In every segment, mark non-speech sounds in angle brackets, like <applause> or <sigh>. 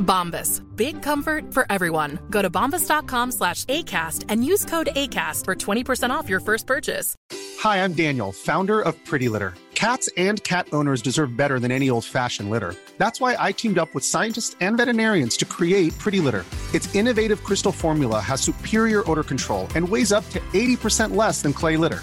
Bombas. Big comfort for everyone. Go to bombas.com slash ACAST and use code ACAST for 20% off your first purchase. Hi, I'm Daniel, founder of Pretty Litter. Cats and cat owners deserve better than any old fashioned litter. That's why I teamed up with scientists and veterinarians to create Pretty Litter. Its innovative crystal formula has superior odor control and weighs up to 80% less than clay litter.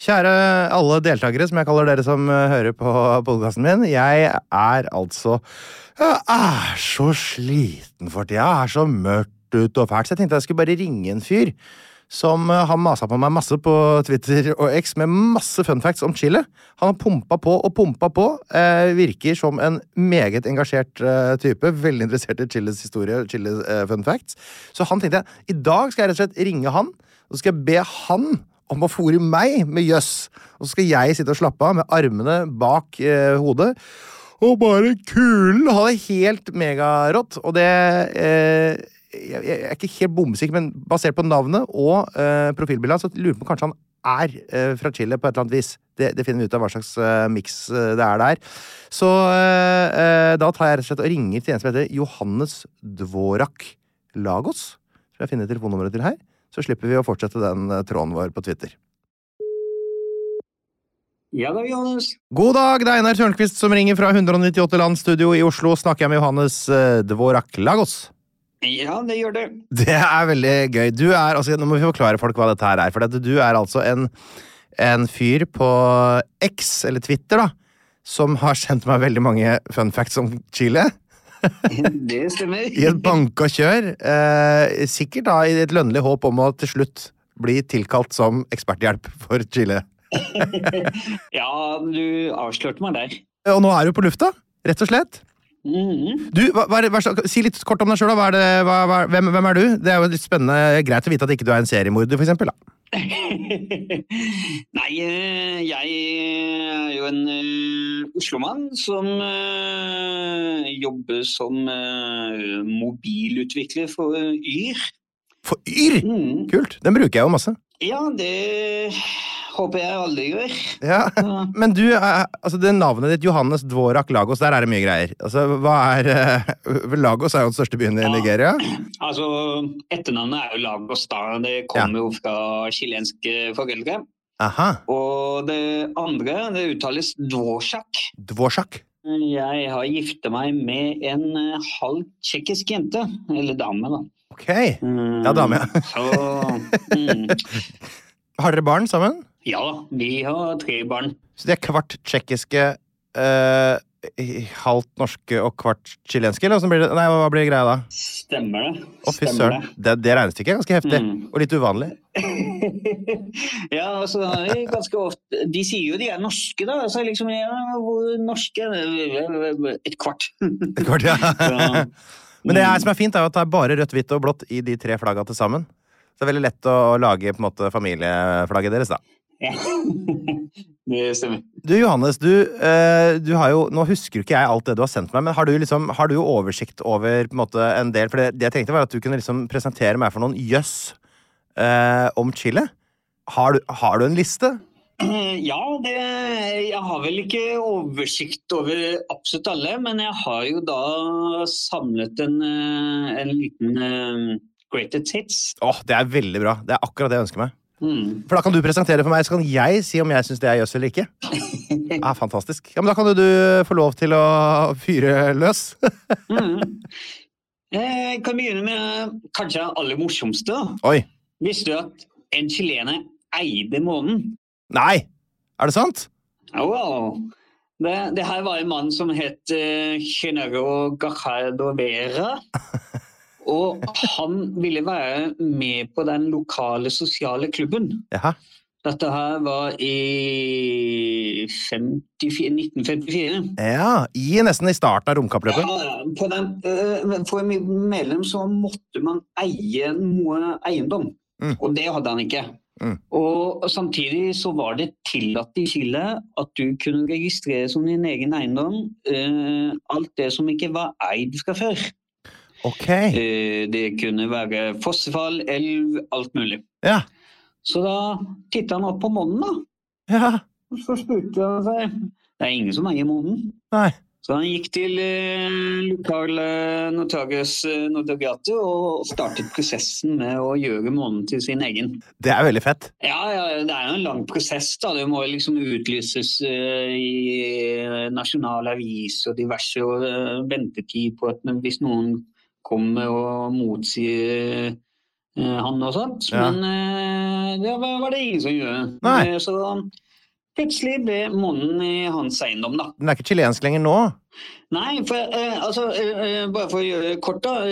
Kjære alle deltakere, som jeg kaller dere som eh, hører på podkasten min. Jeg er altså Jeg er så sliten for tida. Det er så mørkt ute og fælt, så jeg tenkte jeg skulle bare ringe en fyr som eh, har masa på meg masse på Twitter og X med masse fun facts om Chile. Han har pumpa på og pumpa på. Eh, virker som en meget engasjert eh, type. Veldig interessert i Chiles historie og Chiles eh, fun facts. Så han tenkte jeg, i dag skal jeg rett og slett ringe han, og så skal jeg be han om å fôre meg med jøss. Og så skal jeg sitte og slappe av med armene bak eh, hodet. Og bare kulen! Ha det helt megarått. Og det eh, jeg, jeg er ikke helt bomsikker, men basert på navnet og eh, profilbildet hans, så lurer jeg på om kanskje han er eh, fra Chile på et eller annet vis. Det, det finner vi ut av hva slags eh, miks eh, det er der. Så eh, eh, da tar jeg rett og slett og ringer til en som heter Johannes Dvorak Lagos. Skal jeg finne telefonnummeret til her? så slipper vi å fortsette den eh, tråden vår på Twitter. Ja da, Johannes. God dag, det er Einar Tørnquist som ringer fra 198 land studio i Oslo. Snakker jeg med Johannes eh, Dvorak Lagos? <laughs> Ja, det gjør det. Det er veldig gøy. Du er, altså, nå må vi forklare folk hva dette her er, for at du er altså en, en fyr på X, eller Twitter, da, som har sendt meg veldig mange fun facts om Chile. Det stemmer. I <laughs> et banka kjør. Eh, sikkert da i et lønnlig håp om å til slutt bli tilkalt som eksperthjelp for Chile. Ja, du avslørte meg der. Og nå er du på lufta, rett og slett. Mhm. <laughs> Du, hva, hva er, det- hva, slags- si litt kort om deg sjøl. Hva er det- hva, hva, hvem, hvem er du? Det er jo litt spennende, Greit å vite at ikke du er en seriemorder, for eksempel. Da. Nei, eh, jeg er jo en eh, Oslo-mann som eh, jobber som eh, mobilutvikler for eh, Yr. For yr! Mhm. Kult! Den bruker jeg jo masse. Ja, det håper jeg alle gjør. Ja. Ja. Men du, er- altså det navnet ditt, Johannes Dvorak Lagos, der er det mye greier. Altså, hva er eh, Lagos er jo den største byen i Ja. Nigeria. Altså, etternavnet er jo Lagos, da. Det kommer jo fra eh, chilenske foreldre. Aha. Og det andre, det uttales Dvorsak. Dvorak. Jeg har gifta meg med en eh, halv tsjekkisk jente. Eller dame, da. Ok. Mm, Ja, dame, ja. <laughs> så, mm, <laughs> Har dere barn sammen? ja da, vi har tre barn. Så de er kvart tsjekkiske, eh, halvt norske og kvart chilenske? Eller hvordan blir det? Nei, hva blir greia da? Stemmer det. <laughs> Å, fy Stemmer søren. Det, det regnestykket er ganske heftig. Mm. Og litt uvanlig. det. ja, altså, jeg er ganske ofte De sier jo de er norske, da. Så liksom, ja, hvor norske Et <laughs> kvart. Det går, ja. Ja. <laughs> Men det er, som er fint, er jo at det er bare rødt, hvitt og blått i de tre flagga til sammen. Så det er veldig lett å lage på en måte, familieflagget deres, da. Ja. mm. <laughs> det stemmer. Du, Johannes, du, eh, du har jo Nå husker jo ikke jeg alt det du har sendt meg, men har du, liksom, har du oversikt over på en, måte, en del For det, det jeg tenkte, var at du kunne liksom presentere meg for noen jøss eh, om Chile. Har du, har du en liste? Ja, det, jeg har vel ikke oversikt over absolutt alle, men jeg har jo da samlet en, eh, en liten eh, greatest hits. Åh, Det er veldig bra. Det er akkurat det jeg ønsker meg. Mm. For da kan du presentere for meg, så kan jeg si om jeg syns det er jøss eller ikke. Ah, fantastisk. Ja, men da kan jo du få lov til å fyre løs. <laughs> <laughs> Mm. Eh, Jeg kan begynne med kanskje den aller morsomste. da. Oi. Visste du at en chilener eide månen? Nei! Er det sant? Wow. Det, det her var en mann som het eh, Genaro Gajardo Vera. Og han ville være med på den lokale sosiale klubben. Jaha. Dette her var i 54, 1954. Ja, i nesten i starten av Ja, romkappløpet. på den, eh, men for en medlem så måtte man eie noe eiendom, Mm. og det hadde han ikke. Mm. Og samtidig så var det tillatt i Chile at du kunne registrere som din egen eiendom eh, alt det som ikke var eid fra før. Ok. Eh, det kunne være fossefall, elv, alt mulig. Ja. Så da titta han opp på månen, da. Ja. Og så spurte han seg Det er ingen som eier månen. Nei. Så han gikk til eh, lokal eh, notarius eh, notariatet og startet prosessen med å gjøre månen til sin egen. Det er veldig fett. Ja, ja, det er jo en lang prosess. da. Det må liksom utlyses eh, i eh, nasjonal avis og diverse, og eh, ventetid på at men hvis noen kommer og motsier eh, han og sånt. Ja. Men eh, det var var det ingen som gjorde. Nei. Eh, Så plutselig ble månen i hans eiendom, da. Den er ikke chilensk lenger nå. Nei, for, eh, altså, eh, eh, bare for å gjøre det kort, da.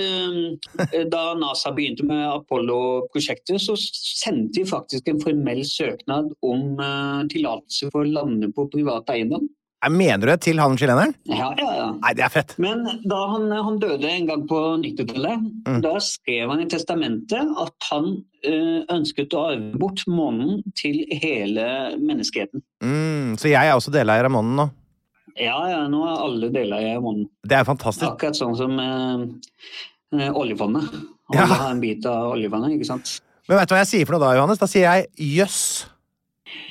Eh, da NASA begynte med Apollo-prosjektet, så sendte de faktisk en formell søknad om eh, tillatelse for å lande på privat eiendom. Jeg mener du det til han chileneren? Ja, ja, ja. Nei, det er fett. Men da han, han døde en gang på 90-tallet, Mm. da skrev han i testamentet at han eh, ønsket å arve bort månen til hele menneskeheten. Mm, så jeg er også deleier av månen nå. Ja, ja, nå er alle deler av månen. Det er fantastisk. Akkurat sånn som eh, eh, oljefondet. Alle Ja. har en bit av oljefondet, ikke sant? Men vet du hva jeg sier for noe da, Johannes? Da sier jeg jøss.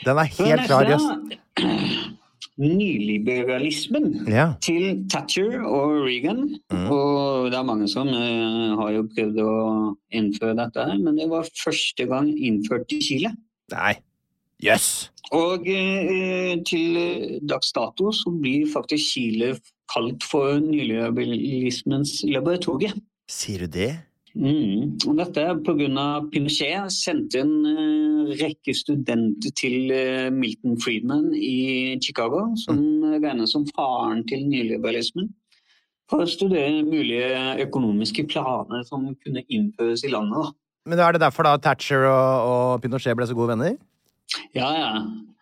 Den er helt klar jøss. <clears throat> Nyliberalismen Ja. til Thatcher og Reagan. Mm. Og det er mange som eh, har jo prøvd å innføre dette, her, men det var første gang innført i Chile. Nei. Jøss. Og eh, til dags dato så blir faktisk Chile kalt for nyliberalismens laboratorie. Sier du det? Mm. Og dette er pga. Pinochet sendte en eh, rekke studenter til eh, Milton Friedman i Chicago, som regnes som faren til nyliberalismen, for å studere mulige økonomiske planer som kunne innføres i landet. Men er det derfor da Thatcher og, og Pinochet ble så gode venner? Da. Ja, ja.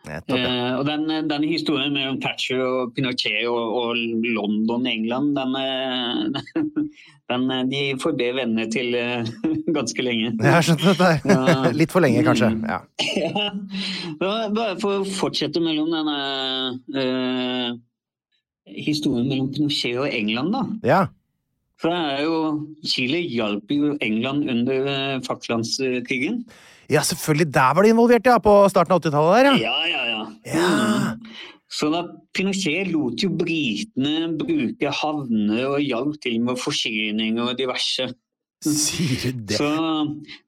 Nettopp. ja. Eh, og den, den historien mellom Thatcher og Pinochet og, og London, England, den, eh, <laughs> den, eh, de forble venner til eh, <laughs> ganske lenge. <laughs> Jeg har skjønt dette. Ja. her. <laughs> Litt for lenge, kanskje. Mm. Ja. <laughs> Ja. Da- Bare for å fortsette mellom denne eh, historien mellom Pinochet og England, da. ja. For det er jo, Chile hjalp jo England under eh, Falklandskrigen. Ja, selvfølgelig. Der var de involvert, ja. På starten av 80-tallet der, ja. Ja, ja, ja. Ja. Sånn at Pinochet lot jo britene bruke havner og hjalp til med forsyning og diverse. Sier du det? Så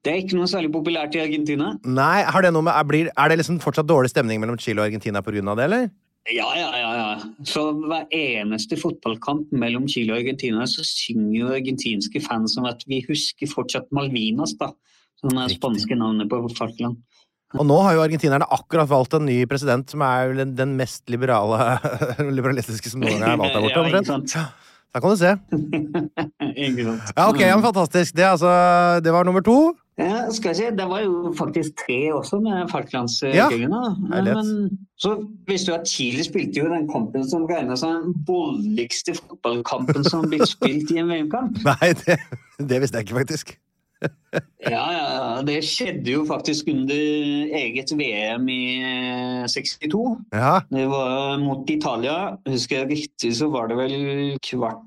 det er ikke noe særlig populært i Argentina. Nei, har det noe med, er, blir, er det liksom fortsatt dårlig stemning mellom Chile og Argentina på grunn av det, eller? Ja, ja, ja. ja. Så hver eneste fotballkamp mellom Chile og Argentina, så synger jo argentinske fans om at vi husker fortsatt Malvinas, da. Som er Riktig. spanske navnet på Falkland. Og nå har jo argentinerne akkurat valgt en ny president, som er vel den- den mest liberale <laughs> liberalistiske som noen gang er valgt der borte, <laughs> Ja, ikke omtrent. sant. Ja, Da kan du se. Ikke sant? Ja, ok, ja, men fantastisk. Det, er altså, det var nummer to. <laughs> Ja, skal jeg si, Det var jo faktisk tre også med Ja, Falklandskrigene. da. herlighet. Men så visste du at Chile spilte jo den kampen som regnes som den voldeligste fotballkampen som har blitt spilt i en VM-kamp. Nei, det, det visste jeg ikke, faktisk. Ja, ja, ja, det skjedde jo faktisk under eget VM i eh, 62. Ja, Det var mot Italia. Husker jeg riktig, så var det vel kvart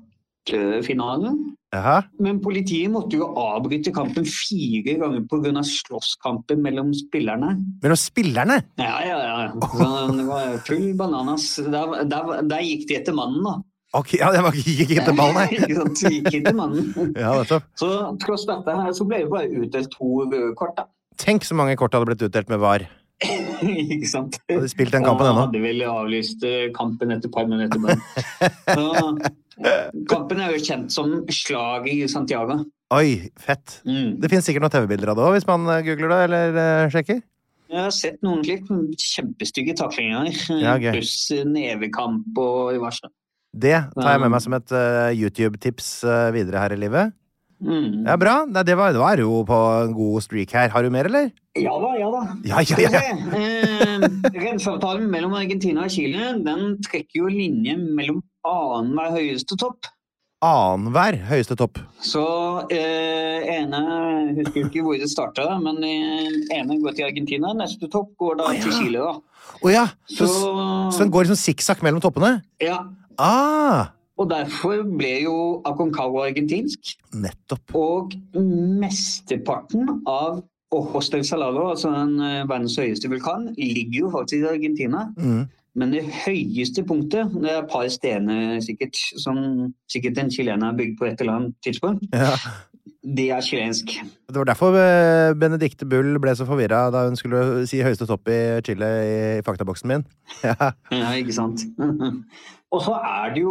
kvartfinale. Jaha. Men politiet måtte jo avbryte kampen fire ganger pga. slåsskampen mellom spillerne. Mellom spillerne? Ja, ja, ja. Så det var full bananas. Der, der, der gikk de etter mannen, da. Ok, ja, det var ikke gikk ikke til ball, nei. <laughs> Ikke sant? De gikk etter mannen. <laughs> Ja, nettopp. Så tross dette her så ble det bare utdelt to røde kort, da. Tenk så mange kort hadde blitt utdelt med VAR. <laughs> ikke sant? Hadde de spilt den kampen Og ennå. Hadde vel avlyst eh, kampen etter et par minutter. <laughs> Men. Så, kampen er jo kjent som slaget i Santiago. Oi, fett. Mm. Det finnes sikkert noen TV-bilder av det òg, hvis man eh, googler det eller eh, sjekker. Jeg har sett noen klipp. Kjempestygge taklinger. Ja, gøy. Pluss nevekamp og diverse. Det tar jeg med meg som et eh, YouTube-tips eh, videre her i livet. Mm. Ja, bra. Nei, det var, det var jo på en god streak her. Har du mer, eller? Ja da, ja da. Ja, ja, Skal vi ja. se. Eh, Renseavtalen mellom Argentina og Chile den trekker jo linje mellom annenhver høyeste topp. Annenhver høyeste topp. Så eh, ene jeg husker ikke hvor det starta, men eh, ene går til Argentina. Neste topp går da til Chile, da. Å ja! Så, så, Så den går liksom sikksakk mellom toppene? ja. Ah! Og derfor ble jo Aconcagua argentinsk. Nettopp. Og mesteparten av Ojos del Salado, altså den eh, verdens høyeste vulkan, ligger jo faktisk i Argentina. Mm. Men det høyeste punktet, det er et par stener sikkert, som sikkert en chilener har bygd på et eller annet tidspunkt, Ja. det er chilensk. Det var derfor eh, Benedicte Bull ble så forvirra da hun skulle si høyeste topp i Chile i, i faktaboksen min. <laughs> Ja. Ja, ikke sant? <laughs> Og så er det jo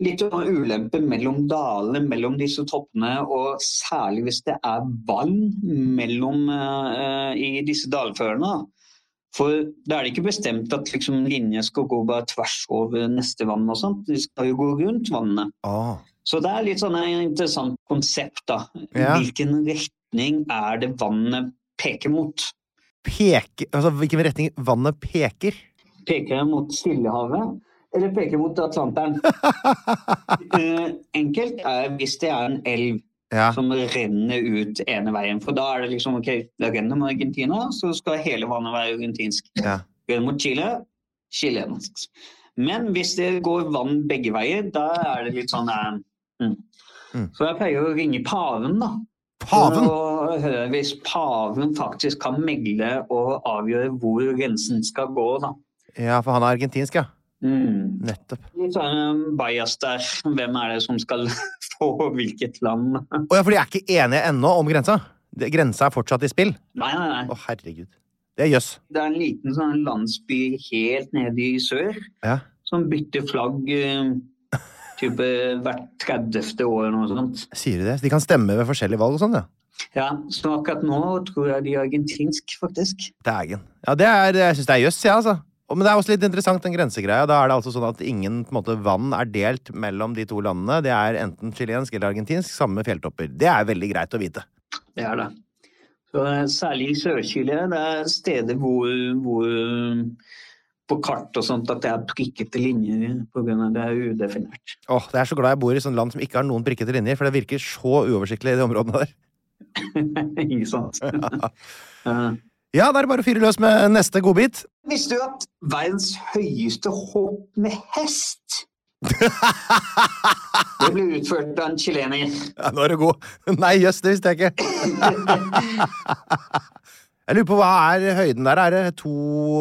litt sånn ulempe mellom dalene, mellom disse toppene, og særlig hvis det er vann mellom, eh, i disse dalførene. da. For da er det ikke bestemt at liksom, linjer skal gå bare tvers over neste vann. og sånt. De skal jo gå rundt vannet. Ah. Så det er litt sånn et interessant konsept, da. Ja. Hvilken retning er det vannet peker mot? Peke Altså hvilken retning vannet peker? Peker det mot Stillehavet, eller peker det mot <laughs> Atlanteren? Eh, enkelt er hvis det er en elv Ja. som renner ut ene veien. For da er det liksom ok, det renner mot Argentina, så skal hele vannet være argentinsk. Ja. Renner mot Chile, chilensk. Men hvis det går vann begge veier, da er det litt sånn eh, mm. Mm. Så jeg pleier å ringe paven, da. Paven! For å høre hvis paven faktisk kan megle og avgjøre hvor grensen skal gå, da. Ja, for han er argentinsk, ja. Mm. Nettopp. Litt sånn bajas der. Hvem er det som skal <laughs> få hvilket land? Nei, Å ja, for de er ikke enige ennå om grensa? Det- Grensa er fortsatt i spill? nei, Å, nei. herregud. Det er jøss. Det er en liten sånn landsby helt nede i sør Ja. som bytter flagg eh, type hvert 30. år eller noe sånt. Sier de det? Så de kan stemme ved forskjellige valg og sånn, ja? Ja, så akkurat nå tror jeg de er argentinsk, faktisk. Dægen. Ja, det er, jeg syns det er jøss, jeg, ja, altså. Og- Men det er også litt interessant, den grensegreia. Da er det altså sånn at ingen på en måte, vann er delt mellom de to landene. Det er enten chilensk eller argentinsk, samme fjelltopper. Det er veldig greit å vite. Det er det. Så, eh, særlig i Sør-Chile. Det er steder hvor, hvor eh, på kart og sånt at det er prikkete linjer pga. det er udefinert. Åh, det er så glad jeg bor i sånne land som ikke har noen prikkete linjer, for det virker så uoversiktlig i de områdene der. <laughs> Ikke sant? <laughs> Eh, Ja, da er det bare å fyre løs med neste godbit. Visste du at verdens høyeste hopp med hest Det ble utført av en chilener. Ja, nå er du god. Nei, jøss, det visste jeg ikke. Jeg lurer på hva er høyden der? Er det to,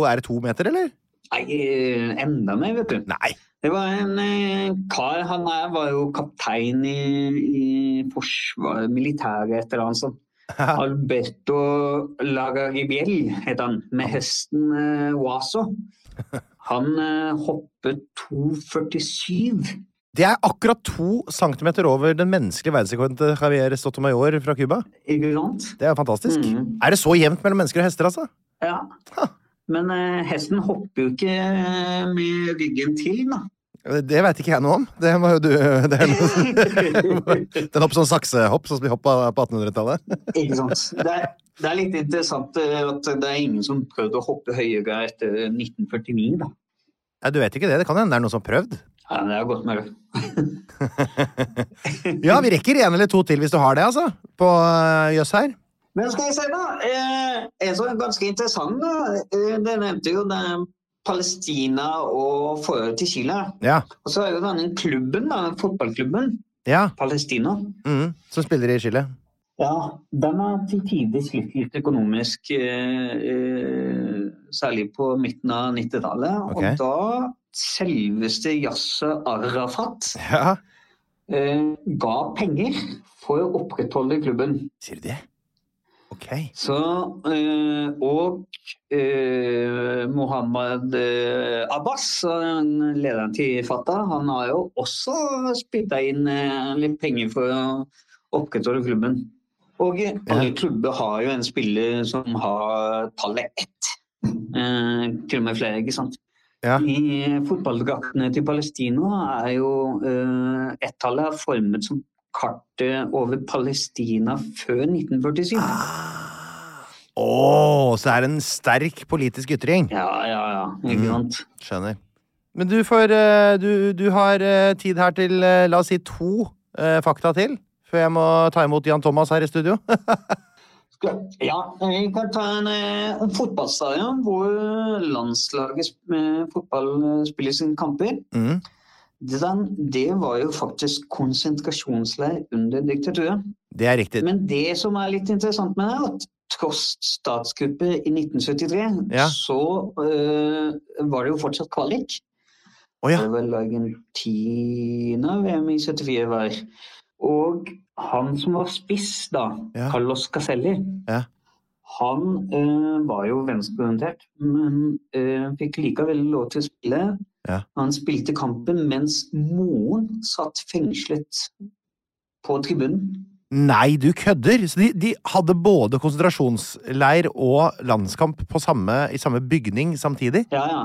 er det to meter, eller? Nei, eh, enda mer, vet du. Nei. Det var en eh, kar Han her var jo kaptein i, i forsvaret, militæret, et eller annet sånt. Alberto Lagaribiel het han, med hesten eh, Oaso. Han eh, hoppet 2,47. Det er akkurat to centimeter over den menneskelige verdensrekorden til Javier Sotomayor fra Cuba. Ikke sant? Det er jo fantastisk. Mhm. Er det så jevnt mellom mennesker og hester, altså? Ja. Ha. Men eh, hesten hopper jo ikke eh, med ryggen til, da. Det veit ikke jeg noe om. Det må jo du det er noe. <laughs> Den hopper sånn saksehopp, sånn som de hoppa på 1800-tallet. Ikke sant? Det er, det er litt interessant eh, at det er ingen som prøvde å hoppe høyere etter 1949, da. Nei, du vet ikke det. Det kan hende det er noen som har prøvd. Ja, det er godt mulig. Ja, vi rekker en eller to til hvis du har det, altså. På øh, jøss her. Men skal jeg si, da. Eh, en som er ganske interessant, da. Eh, det nevnte jo det er Palestina og forholdet til Chile. Ja. Og så er jo denne klubben, da, fotballklubben, Ja. Palestina. Mm, som spiller i Chile. Ja, den har til tider slitt litt økonomisk, eh, eh, særlig på midten av 90-tallet. Ok. Og da selveste Yasser Arafat Ja. eh, ga penger for å opprettholde klubben. Sier du det? Ok. Så, eh, og eh, Mohammed eh, Abbas, eh, lederen til Fatah, han har jo også spytta inn eh, litt penger for å opprettholde klubben. Og eh, alle klubber har jo en spiller som har tallet ett. Eh, til og med flere, ikke sant. Ja. I fotballdraktene til Palestina er jo eh, ett-tallet er formet som kartet over Palestina før 1947. Å, Ah. så det er en sterk politisk ytring. Ja, ja, ja. Ikke sant? Skjønner. Men du får eh, Du, du har eh, tid her til, eh, la oss si, to eh, fakta til. Før jeg må ta imot Jan Thomas her i studio. <laughs> Ja, vi kan ta en, eh, en fotballstadion hvor landslaget sp- med fotball eh, spiller sine kamper. Mm. Den, det var jo faktisk konsentrasjonsleir under diktaturet. Det er riktig. Men det som er litt interessant med det, er at tross statskuppet i 1973, Ja. så eh, var det jo fortsatt kvalik. Å ja. Det var vel Argentina VM i 74 var. Og han som var spiss da, Ja. Carlos Caselli, Ja. han eh, var jo venstreorientert, men eh, fikk likevel lov til å spille. Ja. Han spilte kampen mens moren satt fengslet på tribunen. Nei, du kødder! Så de, de hadde både konsentrasjonsleir og landskamp på samme, i samme bygning samtidig? Ja, ja.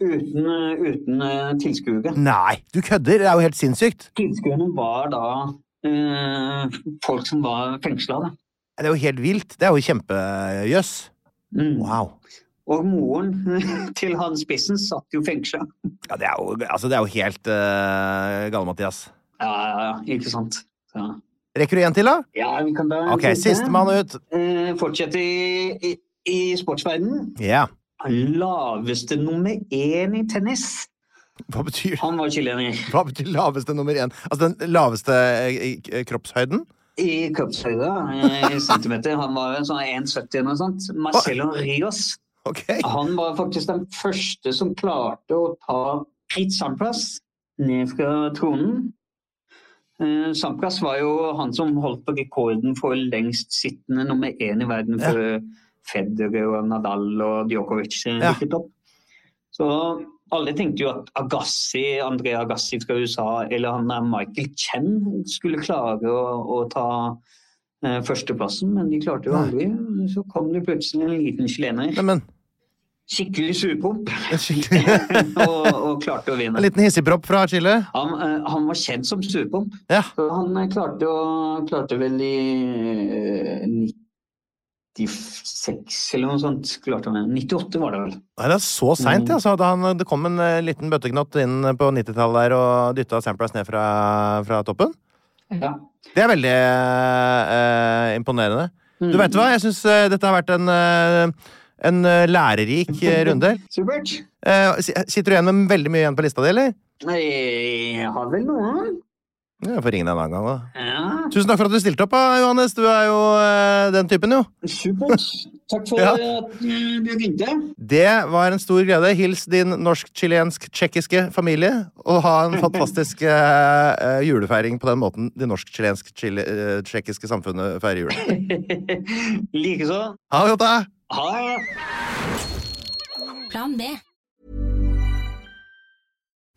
Uten, uten eh, tilskuere. Nei, du kødder! Det er jo helt sinnssykt! Tilskuerne var da eh, folk som var fengsla, da. Det er jo helt vilt. Det er jo kjempejøss. Mm. Wow. Og moren <laughs> til han spissen satt jo fengsla. Ja, det er jo, altså, det er jo helt uh, gale, Mathias. Ja, ja, ja, ikke sant. Ja, Rekker du en til, da? ja vi kan da Ok, sistemann ut. Eh, fortsette i, i, i sportsverdenen. Ja. Laveste nummer én i tennis. Hva betyr Han var chilener. Hva betyr laveste nummer én? Altså den laveste eh, eh, kroppshøyden? I cupshøyde, eh, i centimeter. Han var jo sånn 1,70 eller noe sånt. Marcelo Rios. Ok. Han var faktisk den første som klarte å ta Pete Sampras ned fra tronen. Eh, Sampras var jo han som holdt på rekorden for lengst sittende nummer én i verden Ja. før Federer og Nadal og Djokovic eh, Ja. rykket opp. Så alle tenkte jo at Agassi, André Agassi fra USA eller han der Michael Chen skulle klare å, å ta eh, førsteplassen, men de klarte jo Nei. aldri. Så kom det plutselig en liten chilener Neimen, skikkelig surpomp en skikkelig <laughs> og, og klarte å En vinne. liten hissigpropp fra Chile. Han, eh, han var kjent som surpomp. Ja. Så han eh, klarte, å, klarte vel i eh, 96 eller noe sånt. Klarte han, 98 var det vel. Nei, det er så seint, Mm. altså. Da han, det kom en eh, liten bøtteknott inn på 90-tallet der og dytta Sampras ned fra, fra toppen. Ja. Det er veldig eh, imponerende. Du vet hva, jeg syns dette har vært en, eh, en eh, lærerik eh, runde. Supert. Eh, si- sitter du igjen med veldig mye igjen på lista di, eller? Jeg har vel noen. Ja, Jeg får ringe deg en annen gang, da. Ja, Tusen takk for at du stilte opp, da, Johannes. Du er jo eh, den typen, jo. supert. Takk <laughs> for Ja. at eh, du ringte. <laughs> Det var en stor glede. Hils din norsk-chilensk-tsjekkiske familie, og ha en fantastisk <laughs> eh, eh, julefeiring på den måten det norsk-chilensk-tsjekkiske samfunnet feirer jul. Likeså. Ha det godt, da! Ha det. Plan B.